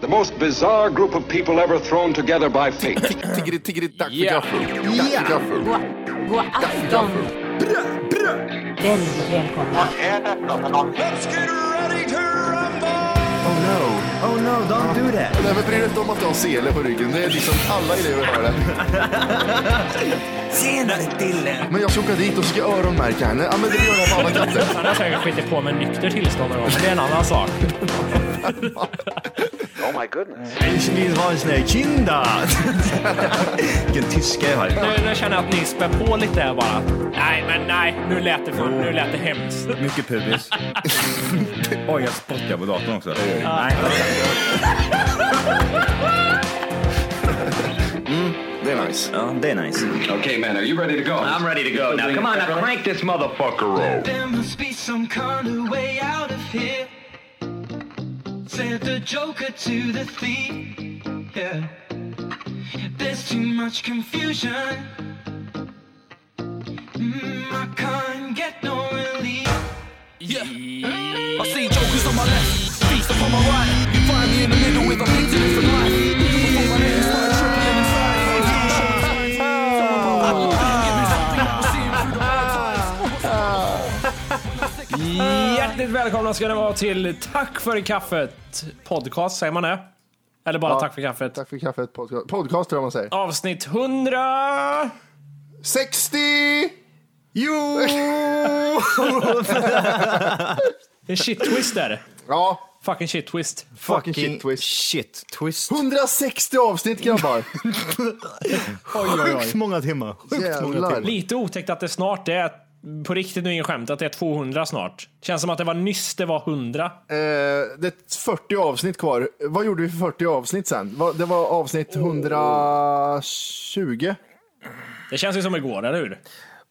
The most bizarre group of people ever thrown together by fate. Tiggeri, tiggeri, dags för Ja. gaffel. Dags för Oh, gaffel. God, god afton. Väldigt välkomna. Oh no, oh no, don't do that. Nej, men bry dig inte om att du har sele på ryggen. Det är liksom alla elever har det. Tjenare Dille! Men jag ska åka dit och ska öronmärka henne. Ja, men det gör jag på alla katter. Han har säkert skitit på med nykter tillstånd någon gång, men det är en annan sak. Ich will ha en sån här kinda. Vilken tyska jag har. Nu, nu känner jag att ni spär på lite här bara. Nej, men nej. Nu lät det, för, nu lät det hemskt. Mycket pubis. Oj, jag spottar på datorn också. Nej. Det är nice. Ja, det är nice. okay, man, are you ready to go? I'm ready to go. Now, come on, now crank this motherfucker roll. There must be some kind of way out of here. Said the Joker to the thief. Yeah. There's too much confusion. Mm, I can't get no relief. Yeah. I see jokers on my left, beast up on my right. You find me in the middle with a pizza for life. Before my name started tripping inside. Hjärtligt välkomna ska ni vara till Tack för kaffet podcast, säger man det? Eller bara Tack för kaffet? Tack för kaffet. Podcast, podcast tror jag man säger. Avsnitt 100! 60! Jo! En shit twist är det. Ja, Fucking shit twist. fucking shit twist. Shit twist. 160 avsnitt grabbar. Sjukt många timmar. Sjukt många timmar. Jävlar. Lite otäckt att det snart är, på riktigt nu ingen skämt, att det är 200 snart. Känns som att det var nyss det var 100. Eh, det är 40 avsnitt kvar. Vad gjorde vi för 40 avsnitt sen? Va- Det var avsnitt Oh. 120. Det känns ju som igår, eller hur?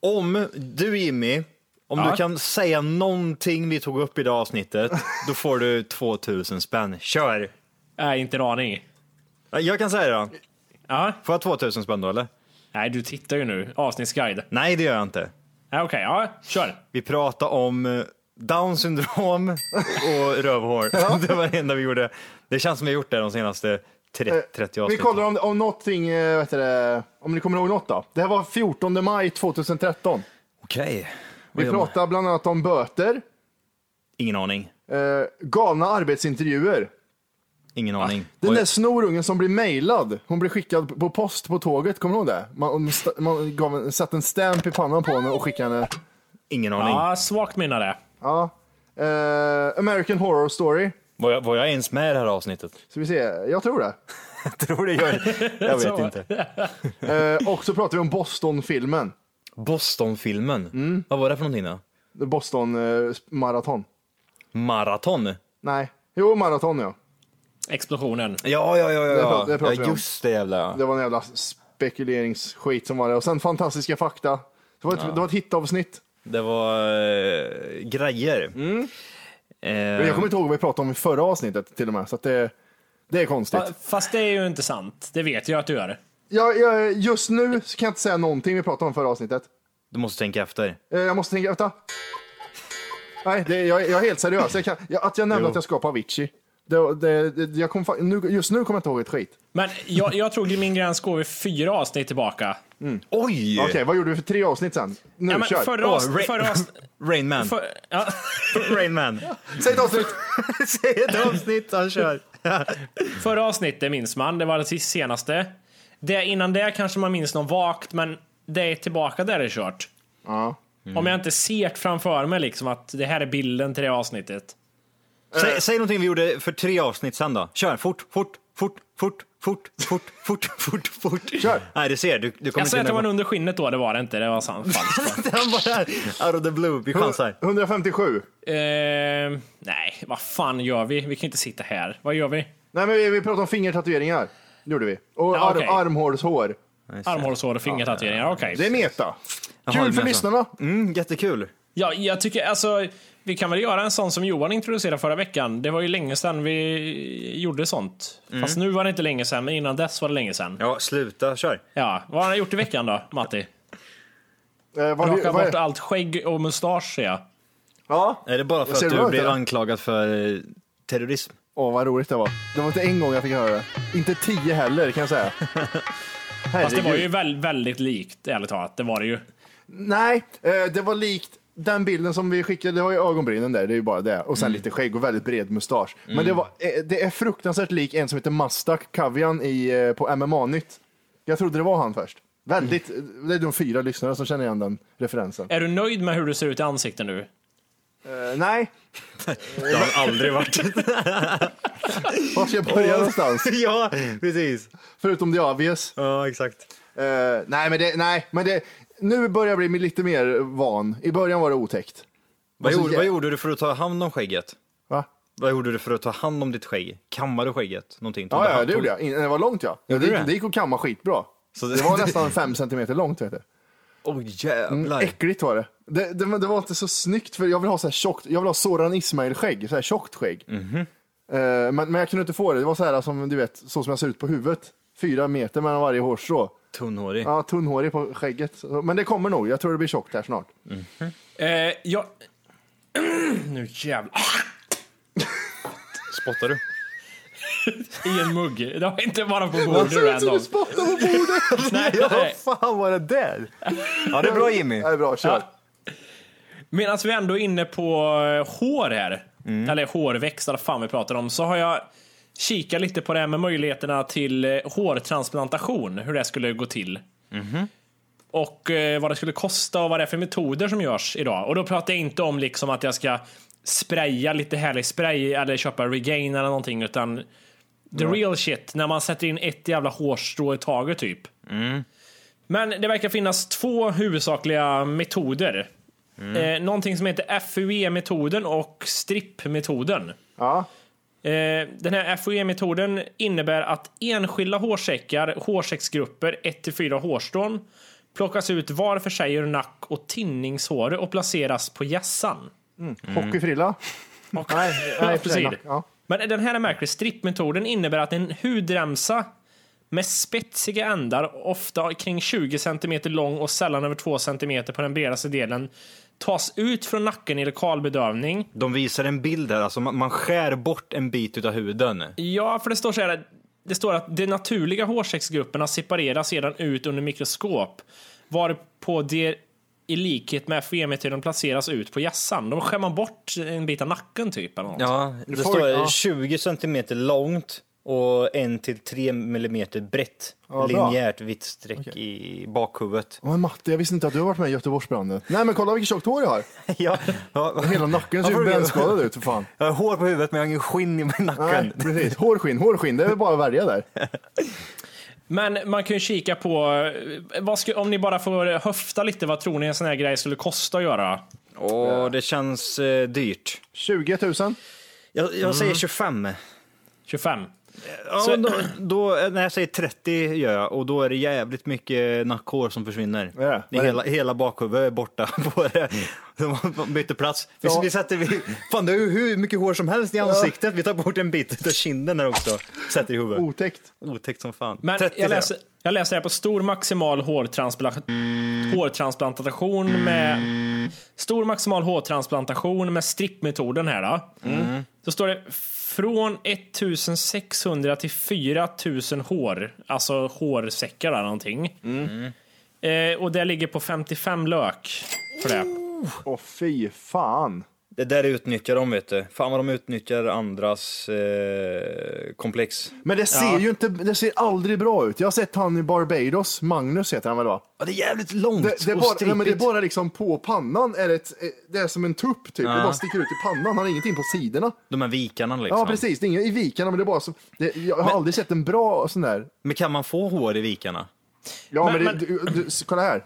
Om du Jimmy, om Ja. du kan säga någonting vi tog upp i det avsnittet, då får du 2000 spänn. Kör! Nej, Äh, inte en aning. Jag kan säga det då. Ja. Får jag 2000 spänn då eller? Nej, du tittar ju nu. Avsnittsguide. Nej, det gör jag inte. Ja, Okej, ja, kör. Vi pratade om eh, down syndrom och rövhår. Det var det enda vi gjorde. Det känns som vi har gjort det de senaste 30, 30 Eh, Vi avsnitten. kollar om, om någonting, eh, vet du, det, om ni kommer ihåg något då. Det här var 14 maj 2013. Okej. Vad Vi gör man? pratade bland annat om böter, Ingen aning. eh, galna arbetsintervjuer. Ingen aning. Den Oj. där snorungen som blir mejlad, hon blir skickad på post på tåget, kommer du ihåg det? Man, st- man gav en, satte en stamp i pannan på henne och skickade henne. Ingen aning. Ah. Ja, svagt minne det. Ja. Eh, American Horror Story. Var, jag, var jag ens med i det här avsnittet? Så vi ser, jag tror det. tror det gör Jag vet inte. Eh, och så pratar vi om Boston-filmen. Boston-filmen. Mm. Vad var det för någonting då? Boston-maraton. Maraton? eh, Nej, jo maraton ja. Explosionen. Ja, ja, ja. ja. pra- det pratar vi ja om. just det jävla. Det var en jävla spekuleringsskit som var det. Och sen fantastiska fakta. Det var ett, det var ett hitavsnitt. Det var eh, grejer. Eh, Mm. Men Jag kommer inte ihåg vad vi pratade om i förra avsnittet till och med. Så att det, det är konstigt. Fa- Fast det är ju inte sant. Det vet jag att du gör. Jag, jag, just nu så kan jag inte säga någonting vi pratade om i förra avsnittet. Du måste tänka efter. Eh, Jag måste tänka, vänta. Nej, det, jag, jag är helt seriös. Jag kan, jag, att jag nämnde Jo. att jag ska på Avicii. Det, det, det, jag kom, fa- nu, just nu kommer jag inte ihåg ett skit. Men jag, jag tror min gräns går vid fyra avsnitt tillbaka. Oj! Okej, vad gjorde vi för tre avsnitt sen? Nu, Ja, men kör. förra Åh, avsnittet... Ra- Förra avsnitt... Rain Man. För, ja, Rain Man. Säg ett avsnitt! Säg ett avsnitt, han kör. förra avsnittet minns man, det var det sist- senaste. Det, innan det kanske man minns någon vagt, men det är tillbaka där det är kört. Ja. Om jag inte ser det framför mig liksom att det här är bilden till det avsnittet. Säg, säg någonting vi gjorde för tre avsnitt sen då. Kör, fort, fort, fort, fort, fort, fort, fort, fort, fort. Kör. Nej, du ser, du, du kommer Jag säger att inte det var en under skinnet då, det var det inte. Det var sant. falskt. Han bara, out of the blue, vi chansar. 157. eh, nej, vad fan gör vi? Vi kan inte sitta här. Vad gör vi? Nej, men vi, vi pratade om fingertatueringar. Det gjorde vi. Och Ja, ar- okej. armhålshår. Armhålshår och fingertatueringar. Okej. Det är meta. det Kul för är meta. alltså. lyssnarna. Mm, jättekul. Ja, jag tycker alltså, vi kan väl göra en sån som Johan introducerade förra veckan. Det var ju länge sedan vi gjorde sånt. Fast nu var det inte länge sedan, men innan dess var det länge sedan. Mm. Ja, sluta, kör. Ja, vad har han gjort i veckan då, Matti? Eh, vad, Raka vad, bort allt skägg och mustasch ser jag. ja. Är det bara för Ser att bra du ut, blir eller? anklagad för eh, terrorism? Åh, vad roligt det var. Det var inte en gång jag fick höra det. Inte tio heller, kan jag säga. Fast det var ju Herregud. väl, väldigt likt, ärligt talat. Det var det ju. Nej, eh, det var likt den bilden som vi skickade. Det var ju ögonbrynen där, det är ju bara det. Och sen lite skägg och väldigt bred mustasch. Men det, var, eh, det är fruktansvärt lik en som heter Mastak Kavian i, eh, på MMA-nytt. Jag trodde det var han först. Väldigt, eh, det är de fyra lyssnare som känner igen den referensen. Är du nöjd med hur du ser ut i ansiktet nu? Eh, nej, Det har aldrig varit. var ska jag börja någonstans? ja, precis. Förutom the obvious. Ja, exakt. Eh, nej, men det, nej, men det, nu börjar jag bli lite mer van. I början var det otäckt. Vad Alltså, gjorde, jä- vad gjorde du för att ta hand om skägget? Va? Vad gjorde du för att ta hand om ditt skägg? Kammade du skägget? Någonting? Tog Ja, du ja, hand- det gjorde jag. In- Det var långt ja. Det Gjorde du gick, det? det gick att kamma skitbra. Så det... var nästan fem centimeter långt vet du. Åh jävlar. Äckligt var det. Det, det. men det var inte så snyggt för jag vill ha så här tjockt, jag vill ha Soran Ismail-skägg, så här tjockt skägg. Eh, men, men jag kunde inte få det, det var så här som du vet, så som jag ser ut på huvudet. Fyra meter mellan varje hårstrå. Tunnhårig. Ja, tunnhårig på skägget. Så- Men det kommer nog, jag tror det blir tjockt här snart. Eh, jag... nu jävlar. Spottar du? I en mugg. Det var inte bara på Jag bordet ser ut som typ random. du spottar på bordet! Nej, Vad nej. fan var det där? Ja, det är bra Jimmy. Det är bra, kör. Medan vi ändå är inne på eh, hår här, eller hårväxt, eller fan vi pratar om, så har jag kikat lite på det här med möjligheterna till eh, hårtransplantation, hur det skulle gå till. Och eh, vad det skulle kosta och vad det är för metoder som görs idag. Och då pratar jag inte om liksom att jag ska spraya lite härlig spray eller köpa regain eller någonting, utan the real shit, när man sätter in ett jävla hårstrå i taget typ. Men det verkar finnas två huvudsakliga metoder. Mm. Eh, någonting som heter FUE-metoden och strippmetoden. Ja. Eh, den här FUE-metoden innebär att enskilda hårsäckar, hårsäcksgrupper, 1-4 hårstrån plockas ut var för sig ur nack och tinningshåret och placeras på hjässan. Hockeyfrilla? Nej, nej, Ja, precis. precis. Ja. Men den här är märklig. Strippmetoden innebär att en hudremsa med spetsiga ändar, ofta kring 20 cm lång och sällan över 2 cm på den bredaste delen, tas ut från nacken i lokalbedövning. De visar en bild här, alltså man, man skär bort en bit utav huden. Ja, för det står så här. Det står att de naturliga hårsäcksgrupperna separeras sedan ut under mikroskop, varpå de i likhet med FEM-metoden placeras ut på hjässan. De skär man bort en bit av nacken typ. Eller något. Ja, det får- står ja. 20 centimeter långt och 1-3 millimeter brett. bra. linjärt vitt streck i bakhuvudet. Men Matte, jag visste inte att du har varit med i Göteborgsbranden. Nej, men kolla vilket tjockt hår jag har. ja, ja. Hela nacken ser Varför- ju brännskadad ut för fan. Jag har hår på huvudet men jag har ingen skinn i nacken. Nej, precis. Hårskinn, hårskinn, det är väl bara att välja där. Men man kan ju kika på, eh, vad sku, om ni bara får höfta lite, vad tror ni en sån här grej skulle kosta att göra? Åh, det känns eh, dyrt. Mm. 20 000? Jag, jag säger 25. 25? Ja, då, då, eh, när jag säger 30 gör jag och då är det jävligt mycket nackhår som försvinner. Ja, Mm. vad det är är det? hela, hela bakhuvudet är borta på det. De byter plats. Vi, vi sätter, vi, fan det är ju hur mycket hår som helst i ansiktet. Vi tar bort en bit av kinden där också. Sätter i huvudet. Otäckt. Otäckt som fan. Men 30 jag, där. läser, jag läser här på stor maximal hårtranspla- hårtransplantation med stor maximal hårtransplantation med strippmetoden här då. Så står det från 1600 till 4000 hår, alltså hårsäckar där någonting. Eh, och det ligger på 55 lök för det. Åh fy fan. Det där utnyttjar de vet du. Fan vad de utnyttjar andras eh, komplex. Men det ser ju inte, det ser aldrig bra ut. Jag har sett han i Barbados, Magnus heter han väl va? Ja, det är jävligt långt Det, det, är och bara, nej, men det är stripigt. bara liksom på pannan, är det, ett, eh, det är som en tupp typ. Det bara sticker ut i pannan, han har ingenting på sidorna. De här vikarna liksom. Ja precis, det är inget i vikarna men det är bara så, det, jag har aldrig sett en bra sån där. Men kan man få hår i vikarna? Ja men, Men- det, men- Du, du, kolla här.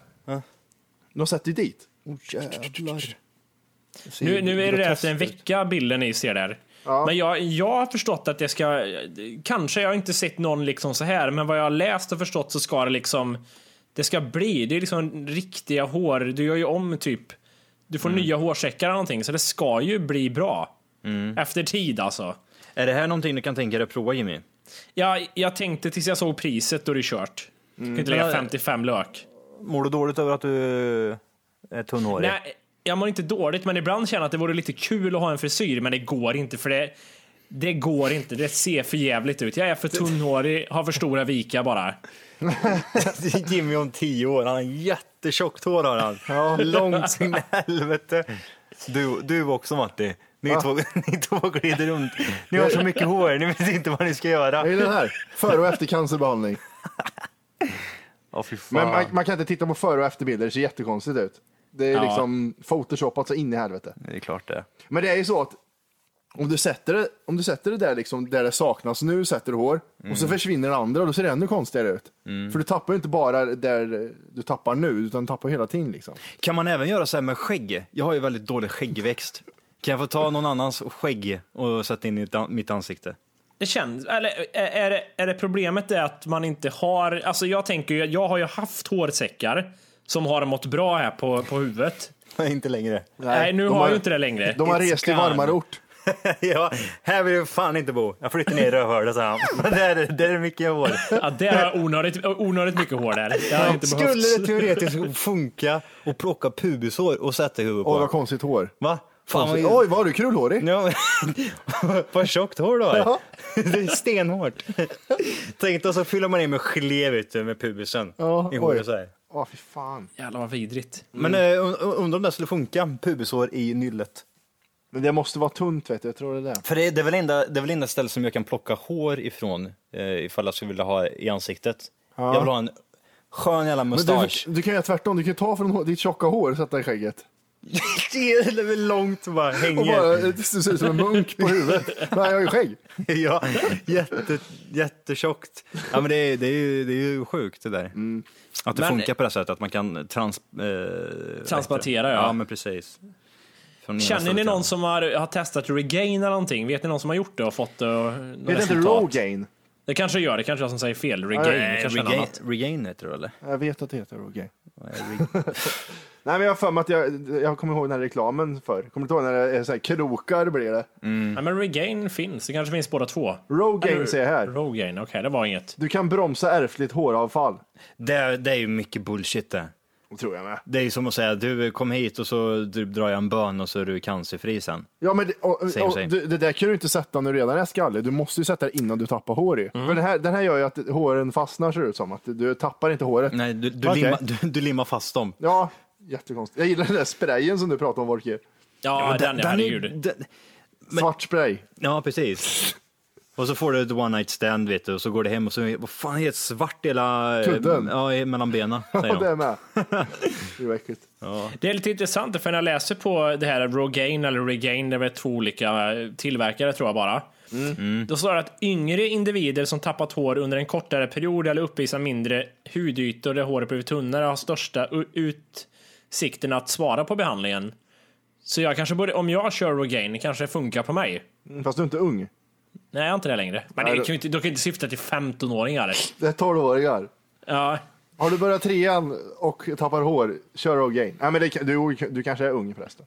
De sätter ju dit. Oh, jävlar. Nu, nu är det där efter en vecka bilden ni ser där. Men jag, jag har förstått att det ska, kanske jag har inte sett någon liksom så här, men vad jag har läst och förstått så ska det liksom, det ska bli, det är liksom riktiga hår, du gör ju om typ, du får nya hårsäckar eller någonting, så det ska ju bli bra. Efter tid alltså. Är det här någonting du kan tänka dig att prova Jimmy? Jag, jag tänkte tills jag såg priset då det är kört. Kan inte lägga 55 lök. Mår du dåligt över att du är tunnhårig? Nej, jag mår inte dåligt, men ibland känner jag att det vore lite kul att ha en frisyr, men det går inte för det. Det går inte, det ser för jävligt ut. Jag är för tunnhårig, har för stora vikar bara. Jimmy om tio år, han har jättetjockt hår har han. Ja. Långt sin helvete. Du, du också Matti. Ni, två, ni två glider runt. Ni har så mycket hår, ni vet inte vad ni ska Det är göra. den här. Före och efter cancerbehandling. Ja, fy fan. Men man, man kan inte titta på före och efterbilder, det ser jättekonstigt ut. Det är Ja. liksom photoshopat så in i helvete. Det är klart det. Men det är ju så att om du sätter det, om du sätter det där liksom där det saknas, nu sätter du hår och så försvinner det andra och då ser det ännu konstigare ut. För du tappar ju inte bara där du tappar nu, utan du tappar hela tiden liksom. Kan man även göra så här med skägg? Jag har ju väldigt dålig skäggväxt. Kan jag få ta någon annans skägg och sätta in i ett an- mitt ansikte? Det känns, eller är- är det, är det problemet är att man inte har, alltså jag tänker ju, jag har ju haft hårsäckar som har mått bra här på, på huvudet. Nej, inte längre. Nej, nu de har jag ju inte det längre. De har It's rest till gone. varmare ort. ja, här vill jag fan inte bo. Jag flyttar ner i rövhålet, sa han. Där, är- där är mycket hår. Ja, där har jag onödigt, onödigt mycket hår där. Det har jag inte Skulle behövt. det teoretiskt funka att plocka pubishår och sätta i huvudet Åh, vad på? konstigt hår. Va? Fan vad... Konstigt. Oj, vad har du krulhårig? Ja, men- vad tjockt hår du har. Ja. Det är stenhårt. Tänk dig så fyller man in med gelé vet du, med pubisen Ja, i oj. Mm. håret så här. Åh, fy fan. Jävlar vad vidrigt. Men eh, und- undrar om det skulle funka, pubishår i nyllet. Men det måste vara tunt vet du, jag tror det är det. För det, det, är väl enda, det är väl enda stället som jag kan plocka hår ifrån eh, ifall jag skulle vilja ha i ansiktet. Jag vill ha en skön jävla Men mustasch. du, du kan göra tvärtom, du kan ju ta från hår- ditt tjocka hår och sätta i skägget. det är väl långt bara, Och hänger. bara, du ser ut som en munk på huvudet. Nej, jag har ju skägg. ja, jätte, jättetjockt. Ja, men det, är, det, är ju, det är ju sjukt det där. Att det Men- funkar på det här sättet, att man kan trans, eh, Transplantera, ja. ja. Ja, men precis. Från ena Känner stället ni till någon andra. som har, har testat regaina någonting? Vet ni någon som har gjort det och fått det? och- något Det är inte resultat? Rogaine. Det kanske jag gör, det kanske jag som säger fel. Regain, Nej, kanske något annat. Regain, regain heter det eller? Jag vet att det heter Rogaine. Nej, reg- Nej men jag har för mig att jag, jag kommer ihåg den här reklamen för. Kommer du inte ihåg när det är så här krokar blir det? Nej men regain finns, det kanske finns båda två. Rogaine Eller- ser jag här. Rogaine, okej det var inget. Du kan bromsa ärftligt håravfall. det, är- det är ju mycket bullshit det. Tror jag med. Det är ju som att säga, du kom hit och så du drar jag en bön och så är du cancerfri sen. Ja men det, och, och, Same, same. Du, det där kan du inte sätta när du redan är skallig. Du måste ju sätta det innan du tappar hår ju. Mm. För den här, den här gör ju att håren fastnar ser det ut som. Att du tappar inte håret. Nej, du, du, Okej. limmar, du, du limmar fast dem. Ja, jättekonstigt. Jag gillar den där sprayen som du pratade om Volker. Ja, Och den, den, herregud. är- den- Svart spray. Ja, precis. Och så får du ett one night stand vet du och så går du hem och så vad fan det är helt svart hela... Kudden. Ja, i- mellan benen. Ja, Säger det de. är med. Det är ju äckligt. Det är lite intressant för när jag läser på det här Rogaine eller Regain, det är väl två olika eh, tillverkare tror jag bara. Då står det att yngre individer som tappat hår under en kortare period eller uppvisar mindre hudytor där håret blivit tunnare har största u- utsikten att svara på behandlingen. Så jag kanske borde, om jag kör Rogaine kanske det funkar på mig. Fast du är inte ung. Nej, jag är inte det längre. Men det Nej, kan du- ju inte, de kan ju inte syfta till 15-åringar. Det är 12-åringar. Ja, Har du börjat trean och tappar hår, kör Rogaine. Nej, men det, kan- du, du kanske är ung förresten.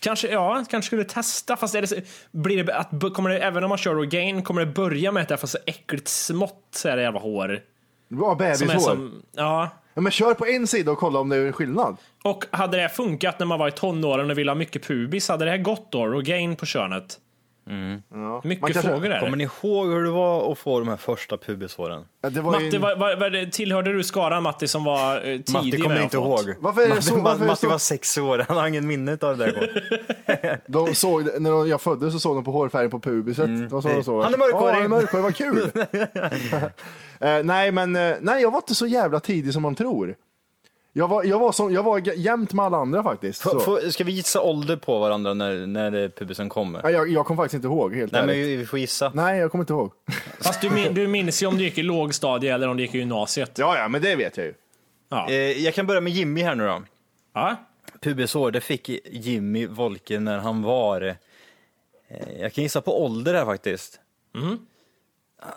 Kanske, ja, kanske skulle testa. Fast är det, så- blir det, att, kommer det, även om man kör Rogaine, kommer det börja med att det är så äckligt smått så är det jävla hår. Bra Som är bebishår. som, ja. Ja, men kör på en sida och kolla om det är en skillnad. Och hade det funkat när man var i tonåren och ville ha mycket pubis, hade det här gått då? Rogaine på könet? Man Mycket kanske- frågor är Mm. Kommer det. ni ihåg hur det var att få de här första pubishåren? Ja, Det var ju Matti, en- var, var, var, det- tillhörde du skaran Matti som var eh, tidig Matti med kommer att inte ha fått? ihåg. Varför är det Matti, så- varför är det Matti så- var sex år, han har ingen minne av det där. de såg, när de- jag föddes så såg de på hårfärgen på pubiset. Det var så de såg. Han är mörkhårig. Ja, han är mörkhårig, vad kul! Eh, nej, men eh, nej, jag var inte så jävla tidig som man tror. Jag var, jag var, som, jag var g- jämnt med alla andra faktiskt. Få- Så. få- Ska vi gissa ålder på varandra när, när eh, pubisen kommer? Nej, jag, jag kommer faktiskt inte ihåg helt Nej, men ärligt. vi vi får gissa. Nej, jag kommer inte ihåg. Fast du, min, du minns ju om du gick i lågstadie eller om du gick i gymnasiet. Ja, ja, men det vet jag ju. Ja. Eh, Jag kan börja med Jimmy här nu då. ja. Pubishår, det fick Jimmy Wolke när han var... eh, Jag kan gissa på ålder här faktiskt. Mm.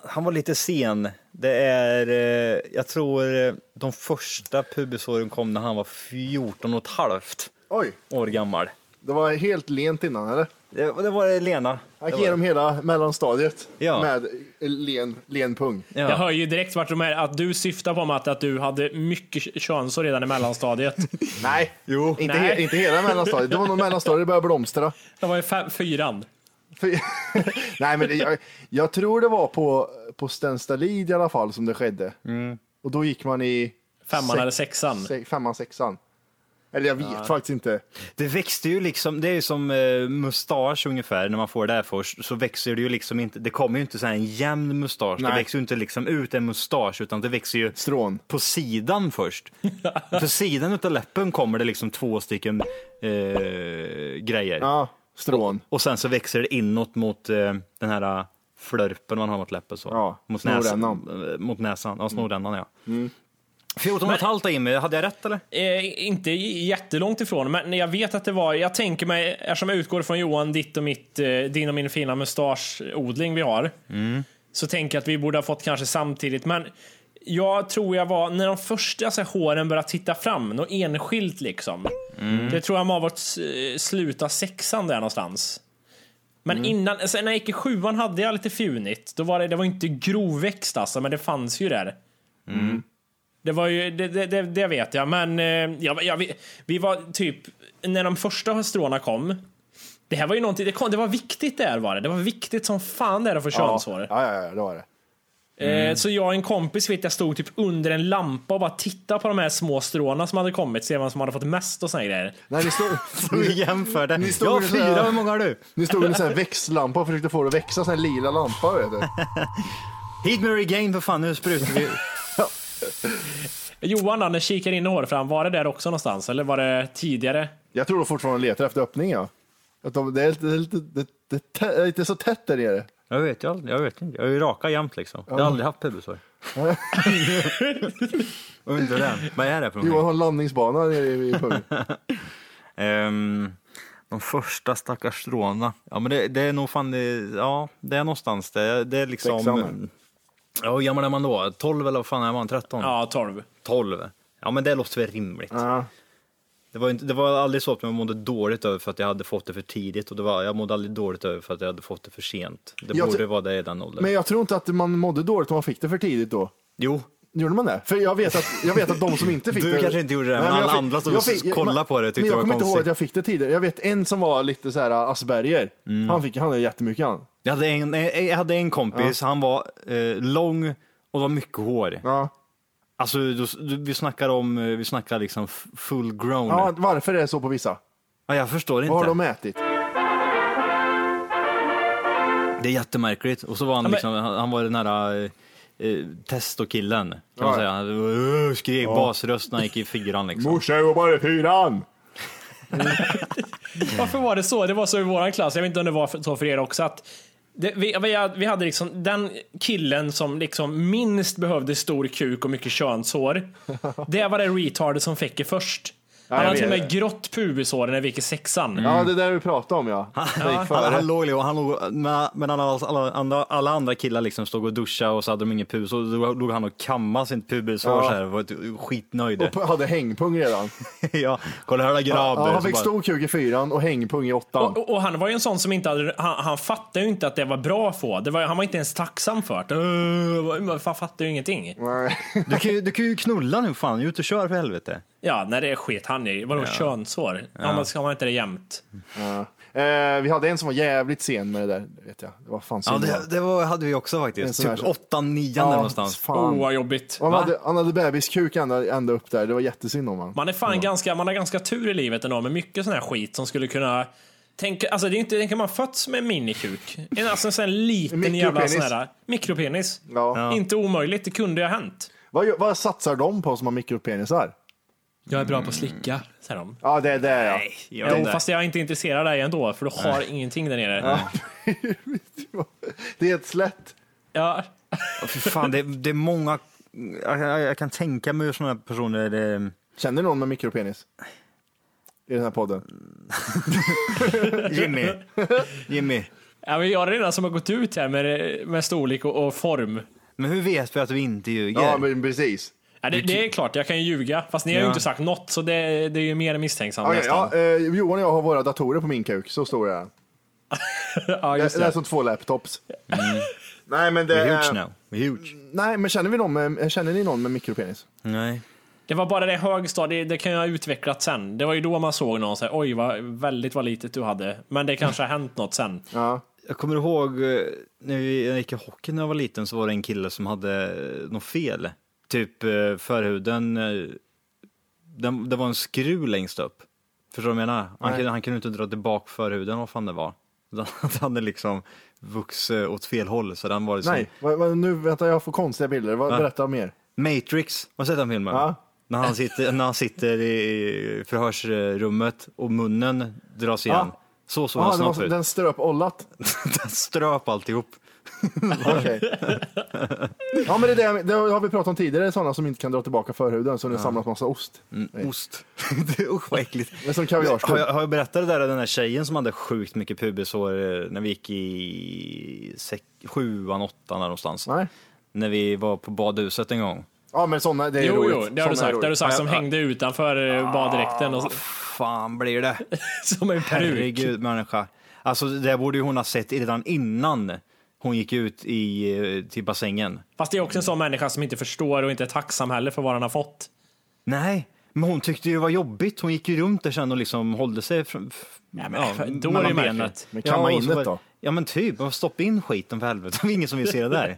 Han var lite sen. Det är, eh, jag tror eh, de första pubishåren kom när han var 14 och ett halvt Oj, år gammal. det var helt lent innan eller? Det, det var det Lena. Han Det gick var- igenom hela mellanstadiet Ja. med eh, len, len pung. Ja. Jag hör ju direkt vart de är, att du syftar på Matt, att du hade mycket könsår redan i mellanstadiet. Nej, jo. Inte, Nej. He, inte hela mellanstadiet. Det var nog mellanstadiet det började blomstra. Det var ju fem, fyran. För, nej, men det, jag, jag tror det var på, på Stenstalid i alla fall som det skedde. Och då gick man i Femman sex- eller sexan. se- femman, sexan. Eller jag vet faktiskt inte. Det växte ju liksom, det är ju som eh, mustasch ungefär, när man får det här först, så växer det ju liksom inte, det kommer ju inte så här en jämn mustasch, det Nej. växer ju inte liksom ut en mustasch, utan det växer ju Strån. på sidan först. på sidan utav läppen kommer det liksom två stycken eh, grejer. Ja, strån. Och sen så växer det inåt mot eh, den här eh, flörpen man har mot läppen. Så. Ja, mot snorrännan. näsan. Eh, Mot näsan, ja Mm. snorrännan ja. 14 och ett halvt Jimmy, hade jag rätt eller? Eh, inte j- jättelångt ifrån, men jag vet att det var, jag tänker mig, eftersom jag utgår från Johan, ditt och mitt, eh, din och min fina mustaschodling vi har, så tänker jag att vi borde ha fått kanske samtidigt, men jag tror jag var, när de första så här, håren började titta fram, något enskilt liksom. Det tror jag var vårt s- sluta sexan där någonstans. Men innan, sen när jag gick i sjuan hade jag lite fjunigt. Då var det, det var inte grovväxt alltså, men det fanns ju där. Det var ju, det, det, det, det vet jag, men eh, jag, jag, vi, vi var typ, när de första stråna kom, det här var ju någonting, det, kom, det var viktigt där var det. Det var viktigt som fan där att få Ja, könshår. ja, ja, ja, det var det. Mm. Eh, Så jag och en kompis vet jag stod typ under en lampa och bara tittade på de här små stråna som hade kommit, se vem som hade fått mest och såna grejer. Nej, ni stod, Vi jämför det. stod Jag har ju så här- fyra, hur många har du? ni stod med en sån här växtlampa och försökte få det att växa, sån här lila lampa. Vet du. Hit med regain för fan, nu sprutar vi. Johan då, när kikar in i hårfram, var det där också någonstans? Eller var det tidigare? Jag tror de fortfarande letar efter öppning, ja. Att de, det, är lite, det, är lite, det, det, det är lite så tätt där nere. Jag vet, jag, aldrig- jag vet inte. Jag är ju raka jämt liksom. Jag har aldrig haft pubisår. Undrar den. Vad är det för Johan någonting? har en landningsbana nere i, i pungen. Ehm, de första stackars stråna. Ja men det, det är nog fan, det, ja det är någonstans det. Det är liksom... Sexan. Ja, hur gammal är man då? 12 eller vad fan är man? 13? Ja, 12. 12. Ja men det låter väl rimligt. Ja. Det var, inte, det var aldrig så att jag mådde dåligt över för att jag hade fått det för tidigt och det var, jag mådde aldrig dåligt över för att jag hade fått det för sent. Det Jag borde tr- vara det i den åldern. Men jag tror inte att man mådde dåligt om man fick det för tidigt då. Jo, Gjorde man det? För jag vet att, jag vet att de som inte fick Du det... kanske inte gjorde det, Nej, men jag alla fick- andra som jag fick- kollade på det tyckte men det jag var kommer inte ihåg konstigt. att jag fick det tidigare. Jag vet en som var lite så här Asperger. Han fick, han hade jättemycket han. jag hade en, eh, jag hade en kompis, han var eh, lång och det var mycket hår. Ja. Alltså du, du, vi snackar om, eh, vi snackar liksom f- full grown. Ja, Ja. varför är det så på vissa? jag förstår inte. Vad har de ätit? Det är jättemärkligt. Och så var han men- liksom, han, han var den där eh, eh, testokillen kan man Ja. säga. Han eh, skrek basröst när han gick i fyran liksom. Morsan jobbar i fyran! Varför var det så? Det var så i våran klass. Jag vet inte om det var för- så för er också. Att det, vi, vi- vi hade liksom den killen som liksom minst behövde stor kuk och mycket könshår. Det var det retardet som fick det först. Han jag hade till och vet med grått pubishår när vi gick i sexan. Ja, det där vi pratade om ja. Det gick Han, före. han låg och han låg, men- men alla, alla, andra, alla andra killar liksom stod och duschade och så hade de ingen pubis och då låg han och kammade sitt pubishår Ja. så här och var ett- skitnöjd. Och hade hängpung redan. ja, kolla här grabben. Ja, han Så fick bara- stor kuk i fyran och hängpung i åttan. Och, och han var ju en sån som inte hade, han, han fattade ju inte att det var bra att få. Det var, han var inte ens tacksam för det. Uh, han fattade ju ingenting. Nej. Du, kan ju, du kan ju knulla nu fan, ut och kör för helvete. Ja, när det sket han i. Vadå könshår? Ja. men ska man inte det jämt? Eh, vi hade en som var jävligt sen med det där. Vet jag. Det var fan Ja, synd. det, det var, hade vi också En faktiskt. sån här Typ som- 8 9 Ja, någonstans. fan. Åh, vad jobbigt. han, hade, han hade bebiskuk ända, ända upp där. Det var jättesynd om honom. Man är fan ganska, man har ganska tur i livet ändå med mycket sån här skit som skulle kunna Tänk, alltså det är inte, tänk om man fötts med en minikuk. En, alltså en sån här liten jävla Mikropenis. sån här mikropenis. Ja. Inte omöjligt, det kunde ju ha hänt. Vad, gör- vad satsar de på som har mikropenisar? Jag är bra på att slicka, säger de. Ja, det är det ja. Ja, Jo, fast jag är inte intresserad av dig ändå, för du har ingenting där nere. Ja. Det är ett slätt. fy fan, det, det är många... Jag, jag, jag kan tänka mig hur såna här personer... eh, Känner någon med mikropenis? I den här podden. Jimmy. Jimmy. Ja, men jag är den enda som har gått ut här med, med storlek och, och form. Men hur vet vi att vi inte ljuger? Ja, men precis. Ja, det, det är klart, jag kan ju ljuga, fast ni har ju Ja. inte sagt något, så det, det är ju mer misstänksamt Okej, nästan. ja, eh, Johan och jag har våra datorer på min kuk, så stor är den. Ja, Det, just det är som två laptops. Nej, men det We're huge är... now. We're huge. Nej, men känner, vi någon med, känner ni någon med mikropenis? Nej. Det var bara det högstadiet, det kan jag ha utvecklat sen. Det var ju då man såg någon säga oj vad väldigt vad litet du hade. Men det kanske har hänt något sen. Ja. Jag kommer ihåg eh, när vi- jag gick i hockey när jag var liten så var det en kille som hade eh, något fel. Typ eh, förhuden, eh, den, det var en skruv längst upp. Förstår du vad jag menar? Han, kunde- han kunde inte dra tillbaka förhuden, vad fan det var. Den hade liksom vuxit åt fel håll så den var liksom Nej, vad, vad, nu vänta jag får konstiga bilder. Vad, Berätta mer. Matrix, har du sett den filmen? Ja. När, han sitter, när han sitter i förhörsrummet och munnen dras igen. Så såg Ah, han det var, snabbt så- ut. den ströp ollat. Den ströp alltihop. Okej. ja men det, är det, det har vi pratat om tidigare, sådana som inte kan dra tillbaka förhuden så det samlas massa ost. Mm. Ost. Det är Usch vad äckligt. Mm. Men som kaviarskrubb. Har jag, har jag berättat det där om den där tjejen som hade sjukt mycket pubisår eh, när vi gick i sex, sjuan, åttan där någonstans? Nej. När vi var på badhuset en gång. Ja men sådana, det är Jo, roligt. jo, det Såna har är du sagt. Det har du roligt. sagt som hängde utanför eh, baddräkten och så- Fan blir det? som en peruk. Herregud människa. Alltså det borde ju hon ha sett redan innan hon gick ut i, eh, till bassängen. Fast det är också en sån människa som inte förstår och inte är tacksam heller för vad han har fått. Nej, men hon tyckte ju det var jobbigt. Hon gick ju runt där sen och liksom hållde sig från, f- men fan, då är mellan det märkligt. Men kamma och in så det bara- då? Ja men typ, bara stoppa in skiten för helvete. Det är ingen som vill se det där.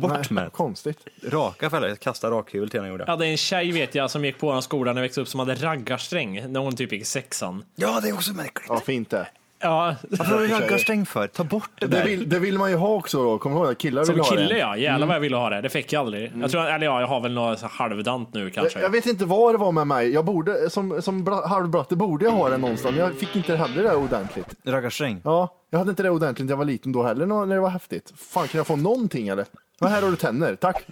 Bort med det. Äh, Konstigt. Raka för helvete. Kasta rakhyvel till henne gjorde Jag jag. hade en tjej vet jag som gick på vår skola när jag växte upp som hade raggarsträng när hon typ gick i sexan. Ja, det är också märkligt. Ja fint det. Ja, Varför har du raggarstäng för? Ta bort det Det där. vill, det vill man ju ha också då, kommer du ihåg det? Killar vill som ha kille det. Mm. ja. Jävlar vad jag ville ha det. Det fick jag aldrig. Jag tror, eller ja, jag har väl något så halvdant nu kanske. Jag, jag vet inte vad det var med mig. Jag borde, som, som bra- halvbratte borde jag ha det någonstans, men jag fick inte heller det ordentligt. Raggarstäng. Ja, jag hade inte det ordentligt när jag var liten då heller, när det var häftigt. Fan, kan jag få någonting eller? Men här har du tänder, tack.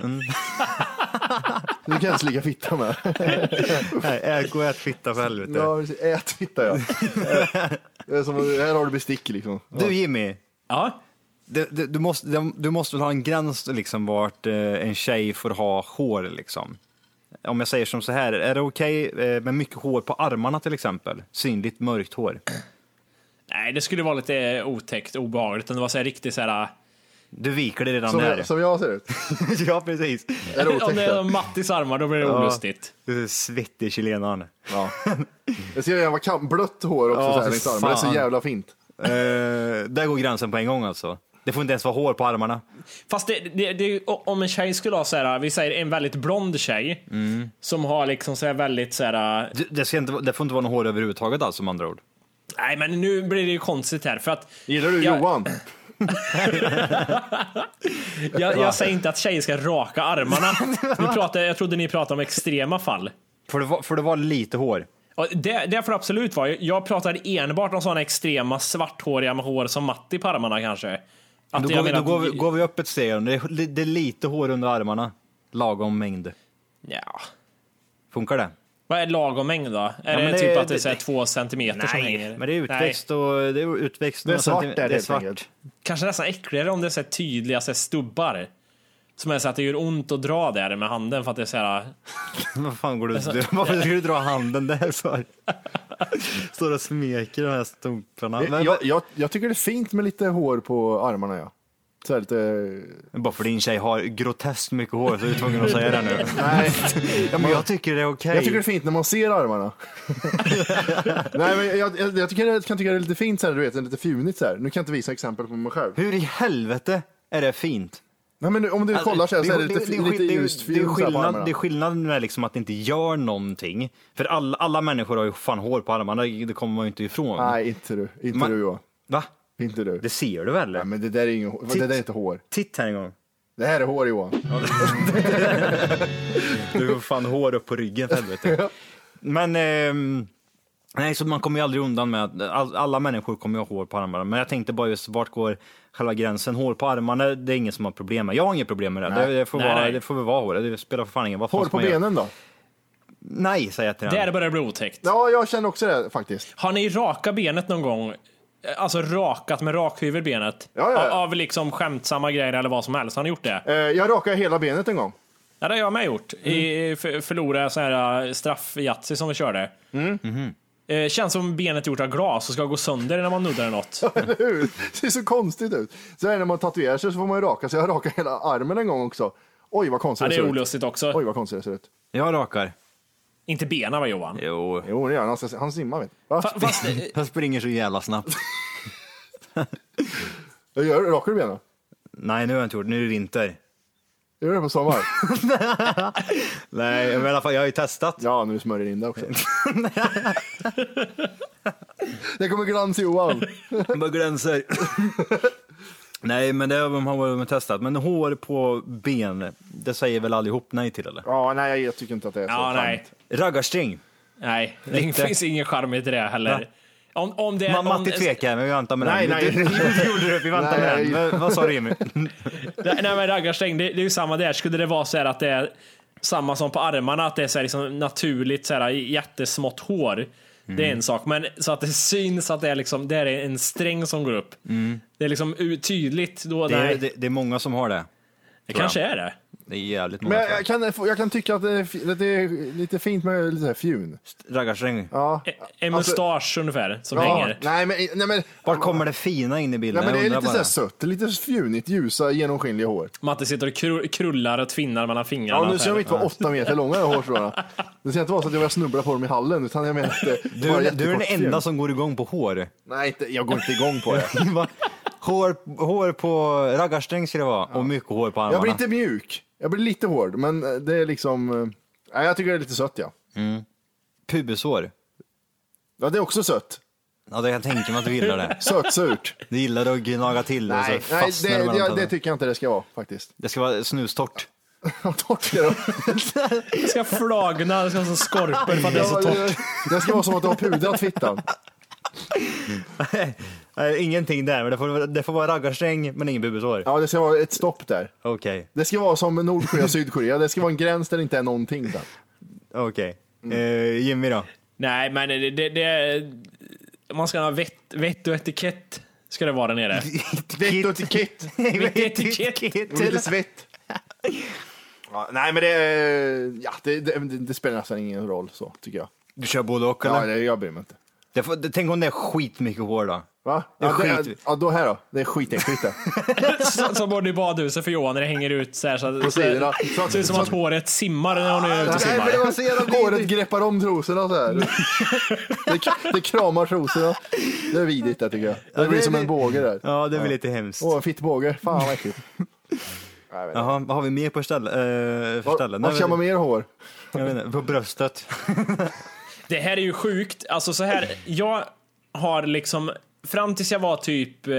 Du kan jag ens ligga fitta med. Nej, gå och ät fitta för helvete. Ja, precis. ät fitta ja. Det är som, här har du bestick liksom. Du Jimmy, Ja. det, det, du, måste, det, du måste väl ha en gräns liksom vart eh, en tjej får ha hår liksom. Om jag säger som så här, är det okej eh, med mycket hår på armarna till exempel? Synligt mörkt hår. Nej, det skulle vara lite otäckt, obehagligt. om Det var så här riktigt så här... ah, Du viker dig redan Som, där. jag- som jag ser ut. ja, precis. Är det Om otäckt? det är det? Mattis armar, då blir det olustigt. Du är Svettig chilenaren. Ja. Jag ser jävla kam- blött hår också Ja, så här för längs armen. Det är fan. så jävla fint. Eh, där går gränsen på en gång alltså. Det får inte ens vara hår på armarna. Fast det, det, det, om en tjej skulle ha så här, ah, vi säger en väldigt blond tjej Mm. som har liksom så här väldigt så här. ah, Du- Det, ska inte, vara- det får inte vara något hår överhuvudtaget alls med andra ord. Nej, men nu blir det ju konstigt här för att Gillar du Ja. Johan? jag, jag säger inte att tjejer ska raka armarna. Vi pratar, jag trodde ni pratade om extrema fall. Får det, vara- får det vara lite hår? Och det, det får det absolut vara. Jag pratar enbart om sådana extrema svarthåriga med hår som Matti på armarna kanske. Att Då, jag går vi, menar då att går, vi, går vi upp ett steg. Det är, det är lite hår under armarna. Lagom mängd. Ja. Funkar det? Vad är lagom mängd då? Är men det, det- typ att det är det- så här två centimeter som hänger? Nej, men det är Nej. utväxt och det är utväxt. Det är några svart centim- där det är helt svart. enkelt. Kanske nästan äckligare om det är så här tydliga så här stubbar. Som är så att det gör ont att dra där med handen för att det är så här. Vad fan går du Varför ska du dra handen där för? Står och smeker de här stumparna. Men, Jag, jag, jag tycker det är fint med lite hår på armarna ja. Så här lite... bara för din tjej har groteskt mycket hår så är du tvungen att säga det nu. Nej, Ja, men jag tycker det är okej. jag tycker det är fint när man ser armarna. Nej men jag, jag, jag, tycker, jag kan tycka det är lite fint så här, du vet, lite fjunigt så här. Nu kan jag inte visa exempel på mig själv. Hur i helvete är det fint? Nej men om du kollar så här, så är det Alltså, Det- lite, det- det- lite det- det- ljust det är fjun så här på skillnad, armarna. det är skillnad med liksom att det inte gör någonting. För alla, alla människor har ju fan hår på armarna, det kommer man ju inte ifrån. Nej, inte du. Inte Man- du Johan. Va? Inte du. Det ser du väl? Nej, men det där är ingen, det där är inte hår. Titt här en gång. Det här är hår Johan. Du har fan hår upp på ryggen för helvete. Men, ehm, nej så man kommer ju aldrig undan med att all, alla människor kommer ju ha hår på armarna. Men jag tänkte bara just vart går själva gränsen? Hår på armarna, det är ingen som har problem med. Jag har inget problem med det. Det, det, får, Nej, vara, nej. det får väl vara hår, det spelar för fan ingen vad fan Hår ska på man göra? benen då? Nej, säger jag till Där den. börjar det bli otäckt. Ja, jag känner också det faktiskt. Har ni raka benet någon gång? Alltså rakat med rakhyvel benet? Ja, ja, ja. Av av liksom skämtsamma grejer eller vad som helst. Har ni gjort det? Eh, Jag rakade hela benet en gång. Ja, det har jag med gjort. Mm. I, för, förlorade så här äh, straffjatsi som vi körde. Mm. Mhm. Eh, känns som benet är gjort av glas och ska gå sönder när man nuddar något. Eller hur? Det ser så konstigt ut. Så här när man tatuerar sig så får man ju raka sig. Jag rakade hela armen en gång också. Oj vad konstigt Ja, det är det ser ut. olustigt också. Oj vad konstigt det ser ut. Jag rakar. Inte benen va Johan? Jo. Jo det gör han. Han, ska- han simmar vet du. Va? Fa- Fast, eh, Han springer så jävla snabbt. Jag gör, rakar du benen? Nej, nu har jag inte gjort det. Nu är det vinter. Jag gör det på sommar. Nej, men i alla fall, jag har ju testat. Ja, nu smörjer in det också. det kommer glans Johan. Bara glänser. nej, men det har man har man testat. Men hår på ben, det säger väl allihop nej till eller? Ja, nej jag tycker inte att det är så. Ja, Fan. nej. Raggarstring. Nej, det Lite. finns ingen charm i det heller. Va? Om, om det är Man, om, Matti tvekar, men vi väntar med Nej, den. nej. Du, du gjorde det, vi väntar Nej. med den. Men, vad sa du Jimmy? Nej, nej men raggarsträng, det, det är ju samma där. Skulle det vara så här att det är samma som på armarna, att det är så här liksom naturligt så här jättesmått hår. Det är Mm. en sak, men så att det syns att det är liksom, det här är en sträng som går upp. Mm. Det är liksom u- tydligt då. Det är, nej, det, det, det är många som har det. kanske är det. Det är jävligt många. Men Men, jag, jag, kan, få- jag kan tycka att det är, fi- att det är lite fint med lite så här fjun. Raggarsträng. Ja. En Alltså- mustasch ungefär som ja. hänger. Nej, men, nej, men, Var kommer det fina in i bilden? nej, men det Jag är undrar lite så bara. här sött, lite fjunigt, ljusa, genomskinliga hår. Matte sitter och kru- krullar och tvinnar mellan fingrarna. Ja, nu så ser de här. inte vara åtta meter långa de hårstråna. Det ser inte vara så att jag börjar snubbla på dem i hallen, utan jag menar att det Du, bara är- du är jättekort den fjun. enda som går igång på hår. Nej, inte, jag går inte igång på det. Va? hår, hår på raggarsträng ska det vara och mycket hår på armarna. Jag blir inte mjuk. Jag blir lite hård, men eh, det är liksom... eh, Nej, jag tycker det är lite sött, ja. Pubeshår. Ja, det är också sött. Ja, det kan jag tänka mig att du gillar det. Sötsurt. Du gillar att gnaga till och så Nej, nej det, fastnar det, det, mellan jag- Alltså, det tänderna. tycker jag inte det ska vara faktiskt. det ska vara snustort. Torrt ska det vara. Det ska flagna, det ska vara som skorpor för att det är så torrt. det, det ska vara som att du har pudrat fittan. Nej, ingenting där, men det får, det får vara raggarsträng men ingen pubeshår. Ja, det ska vara ett stopp där. Okej, Det ska vara som Nordkorea och Sydkorea. Det ska vara en gräns där det inte är någonting. Där. okej. Mm. Eh, Jimmy då? Nej, men det, det, det man ska ha vett, vett och etikett ska det vara där nere. Vett och etikett. Och lite svett. Ja, nej, men det, Eh, ja, det, det, det spelar nästan ingen roll så, tycker jag. Du kör både och Ja, eller? det, jag bryr mig inte. Det får, det, tänk om det är skitmycket hår då? Va? Det är Ja, det, skit. ja, då här då. Det är skitäckligt det. Så- Som både i badhuset för Johan när det hänger ut så här. Så, På så, sidorna. Så det ser ut som att håret simmar när hon är ute och Nej, men det simmar. var så jävla Håret greppar om trosorna så här. Det, det kramar trosorna. Det är vidrigt det tycker jag. Det blir det- som en det- båge där. Ja, det blir lite hemskt. Åh, en fittbåge. Fan vad äckligt. Jaha, vad har vi mer på ställe? eh, för Var, ställe? var Nej, kör men- man mer hår? jag vet inte, på bröstet. Det här är ju sjukt. Alltså så här, jag har liksom fram tills jag var typ eh,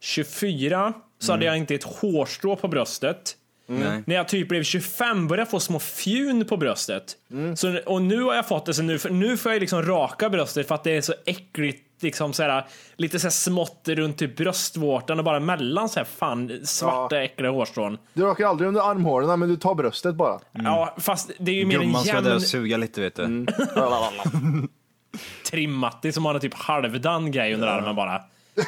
24 så hade jag inte ett hårstrå på bröstet. Nej. När jag typ blev 25 började jag få små fjun på bröstet. Så, och nu har jag fått det, så nu, för, nu får jag liksom raka bröstet för att det är så äckligt. Liksom så här, lite så här smått runt typ bröstvårtan och bara mellan så här fan svarta äckliga hårstrån. Du rakar aldrig under armhålorna men du tar bröstet bara. Ja, fast det är ju mer en Mm. Gumman ska där jämn och suga lite vet du. Mm. trimmatti som har en typ halvdan grej under armen bara.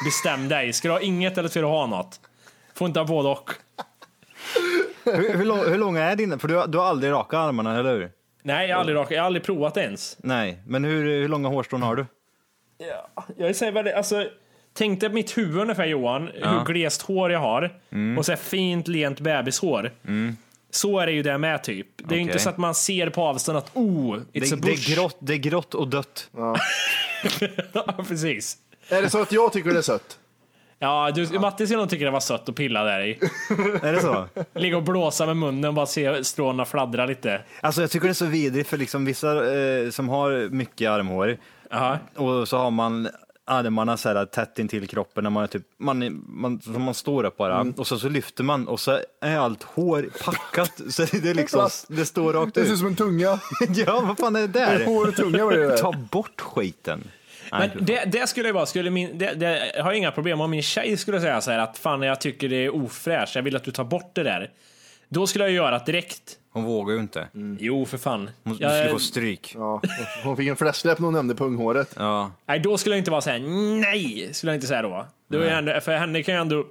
Bestäm dig, ska du ha inget eller ska du ha något? Får inte ha både och. Hur, hur, lång, hur långa är dina? För du, har- du har aldrig raka armarna, eller hur? Nej, jag har aldrig, rakat- jag har aldrig provat det ens. Nej, men hur, hur långa hårstrån har du? Jag säger väl, alltså, tänk dig mitt huvud ungefär Johan, hur glest hår jag har. Mm. Och så här fint lent bebishår. Så är det ju det med typ. Det är ju inte Okej. så att man ser på avstånd att oh, it's Det, a det, bush. är grått, det är grått och dött. ja, precis. Är det så att jag tycker det är sött? Ja, du, Mattis och jag tycker det var sött att pilla där i. Är det så? Ligga och blåsa med munnen och bara se stråna fladdra lite. Alltså jag tycker det är så vidrigt för liksom vissa eh, som har mycket armhår Jaha. och så har man armarna så här tätt intill kroppen när man är typ, man, är- man, så man står upp bara och så, så lyfter man och så är allt hår packat så det är liksom, det står rakt Det ser ut ut. som en tunga. Ja, vad fan är det där? Hår och tunga var det där. Ta bort skiten. Nej, Men det, det skulle ju vara, skulle min, det, det jag har jag inga problem om min tjej skulle säga så här att fan jag tycker det är ofräscht, jag vill att du tar bort det där. Då skulle jag ju göra det direkt. Hon vågar ju inte. Mm. Jo för fan. Hon Jag- skulle få stryk. Ja, hon fick en fläskläpp när hon nämnde punghåret. Ja. nej, då skulle jag inte vara så här nej, skulle jag inte säga då. då är jag ändå, för henne kan jag ändå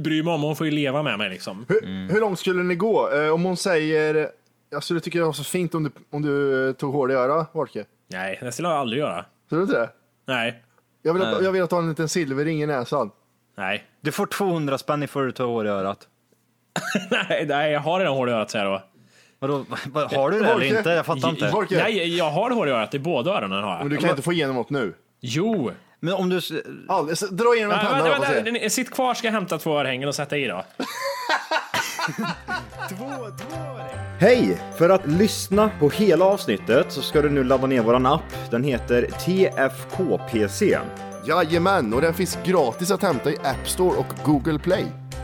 bry mig om, hon får ju leva med mig liksom. Hur, hur långt skulle ni gå? Eh, om hon säger, jag skulle tycka det var så fint om du, om du eh, tog hår i örat, Orke. Nej, det skulle jag aldrig göra. Tror du inte det? Nej, Jag vill, att, jag vill att du har en liten silverring i näsan. nej, Du får 200 spänn ifall du tar hår i örat. nej, nej, jag har redan hår i örat säger jag då. Vadå, vad- har du det eller inte? Jag fattar inte. Orke, Nej, jag har hår i örat i båda öronen har men jag. du kan inte få igenom något nu. Jo, Men om du... s- Alldeles, dra igenom en Nej, penna vänta, då och se. vänta, ni- Sitt kvar ska jag hämta två örhängen och sätta i då. Hej! För att lyssna på hela avsnittet så ska du nu ladda ner våran app. Den heter TFKPC. Jajamän, och den finns gratis att hämta i App Store och Google Play.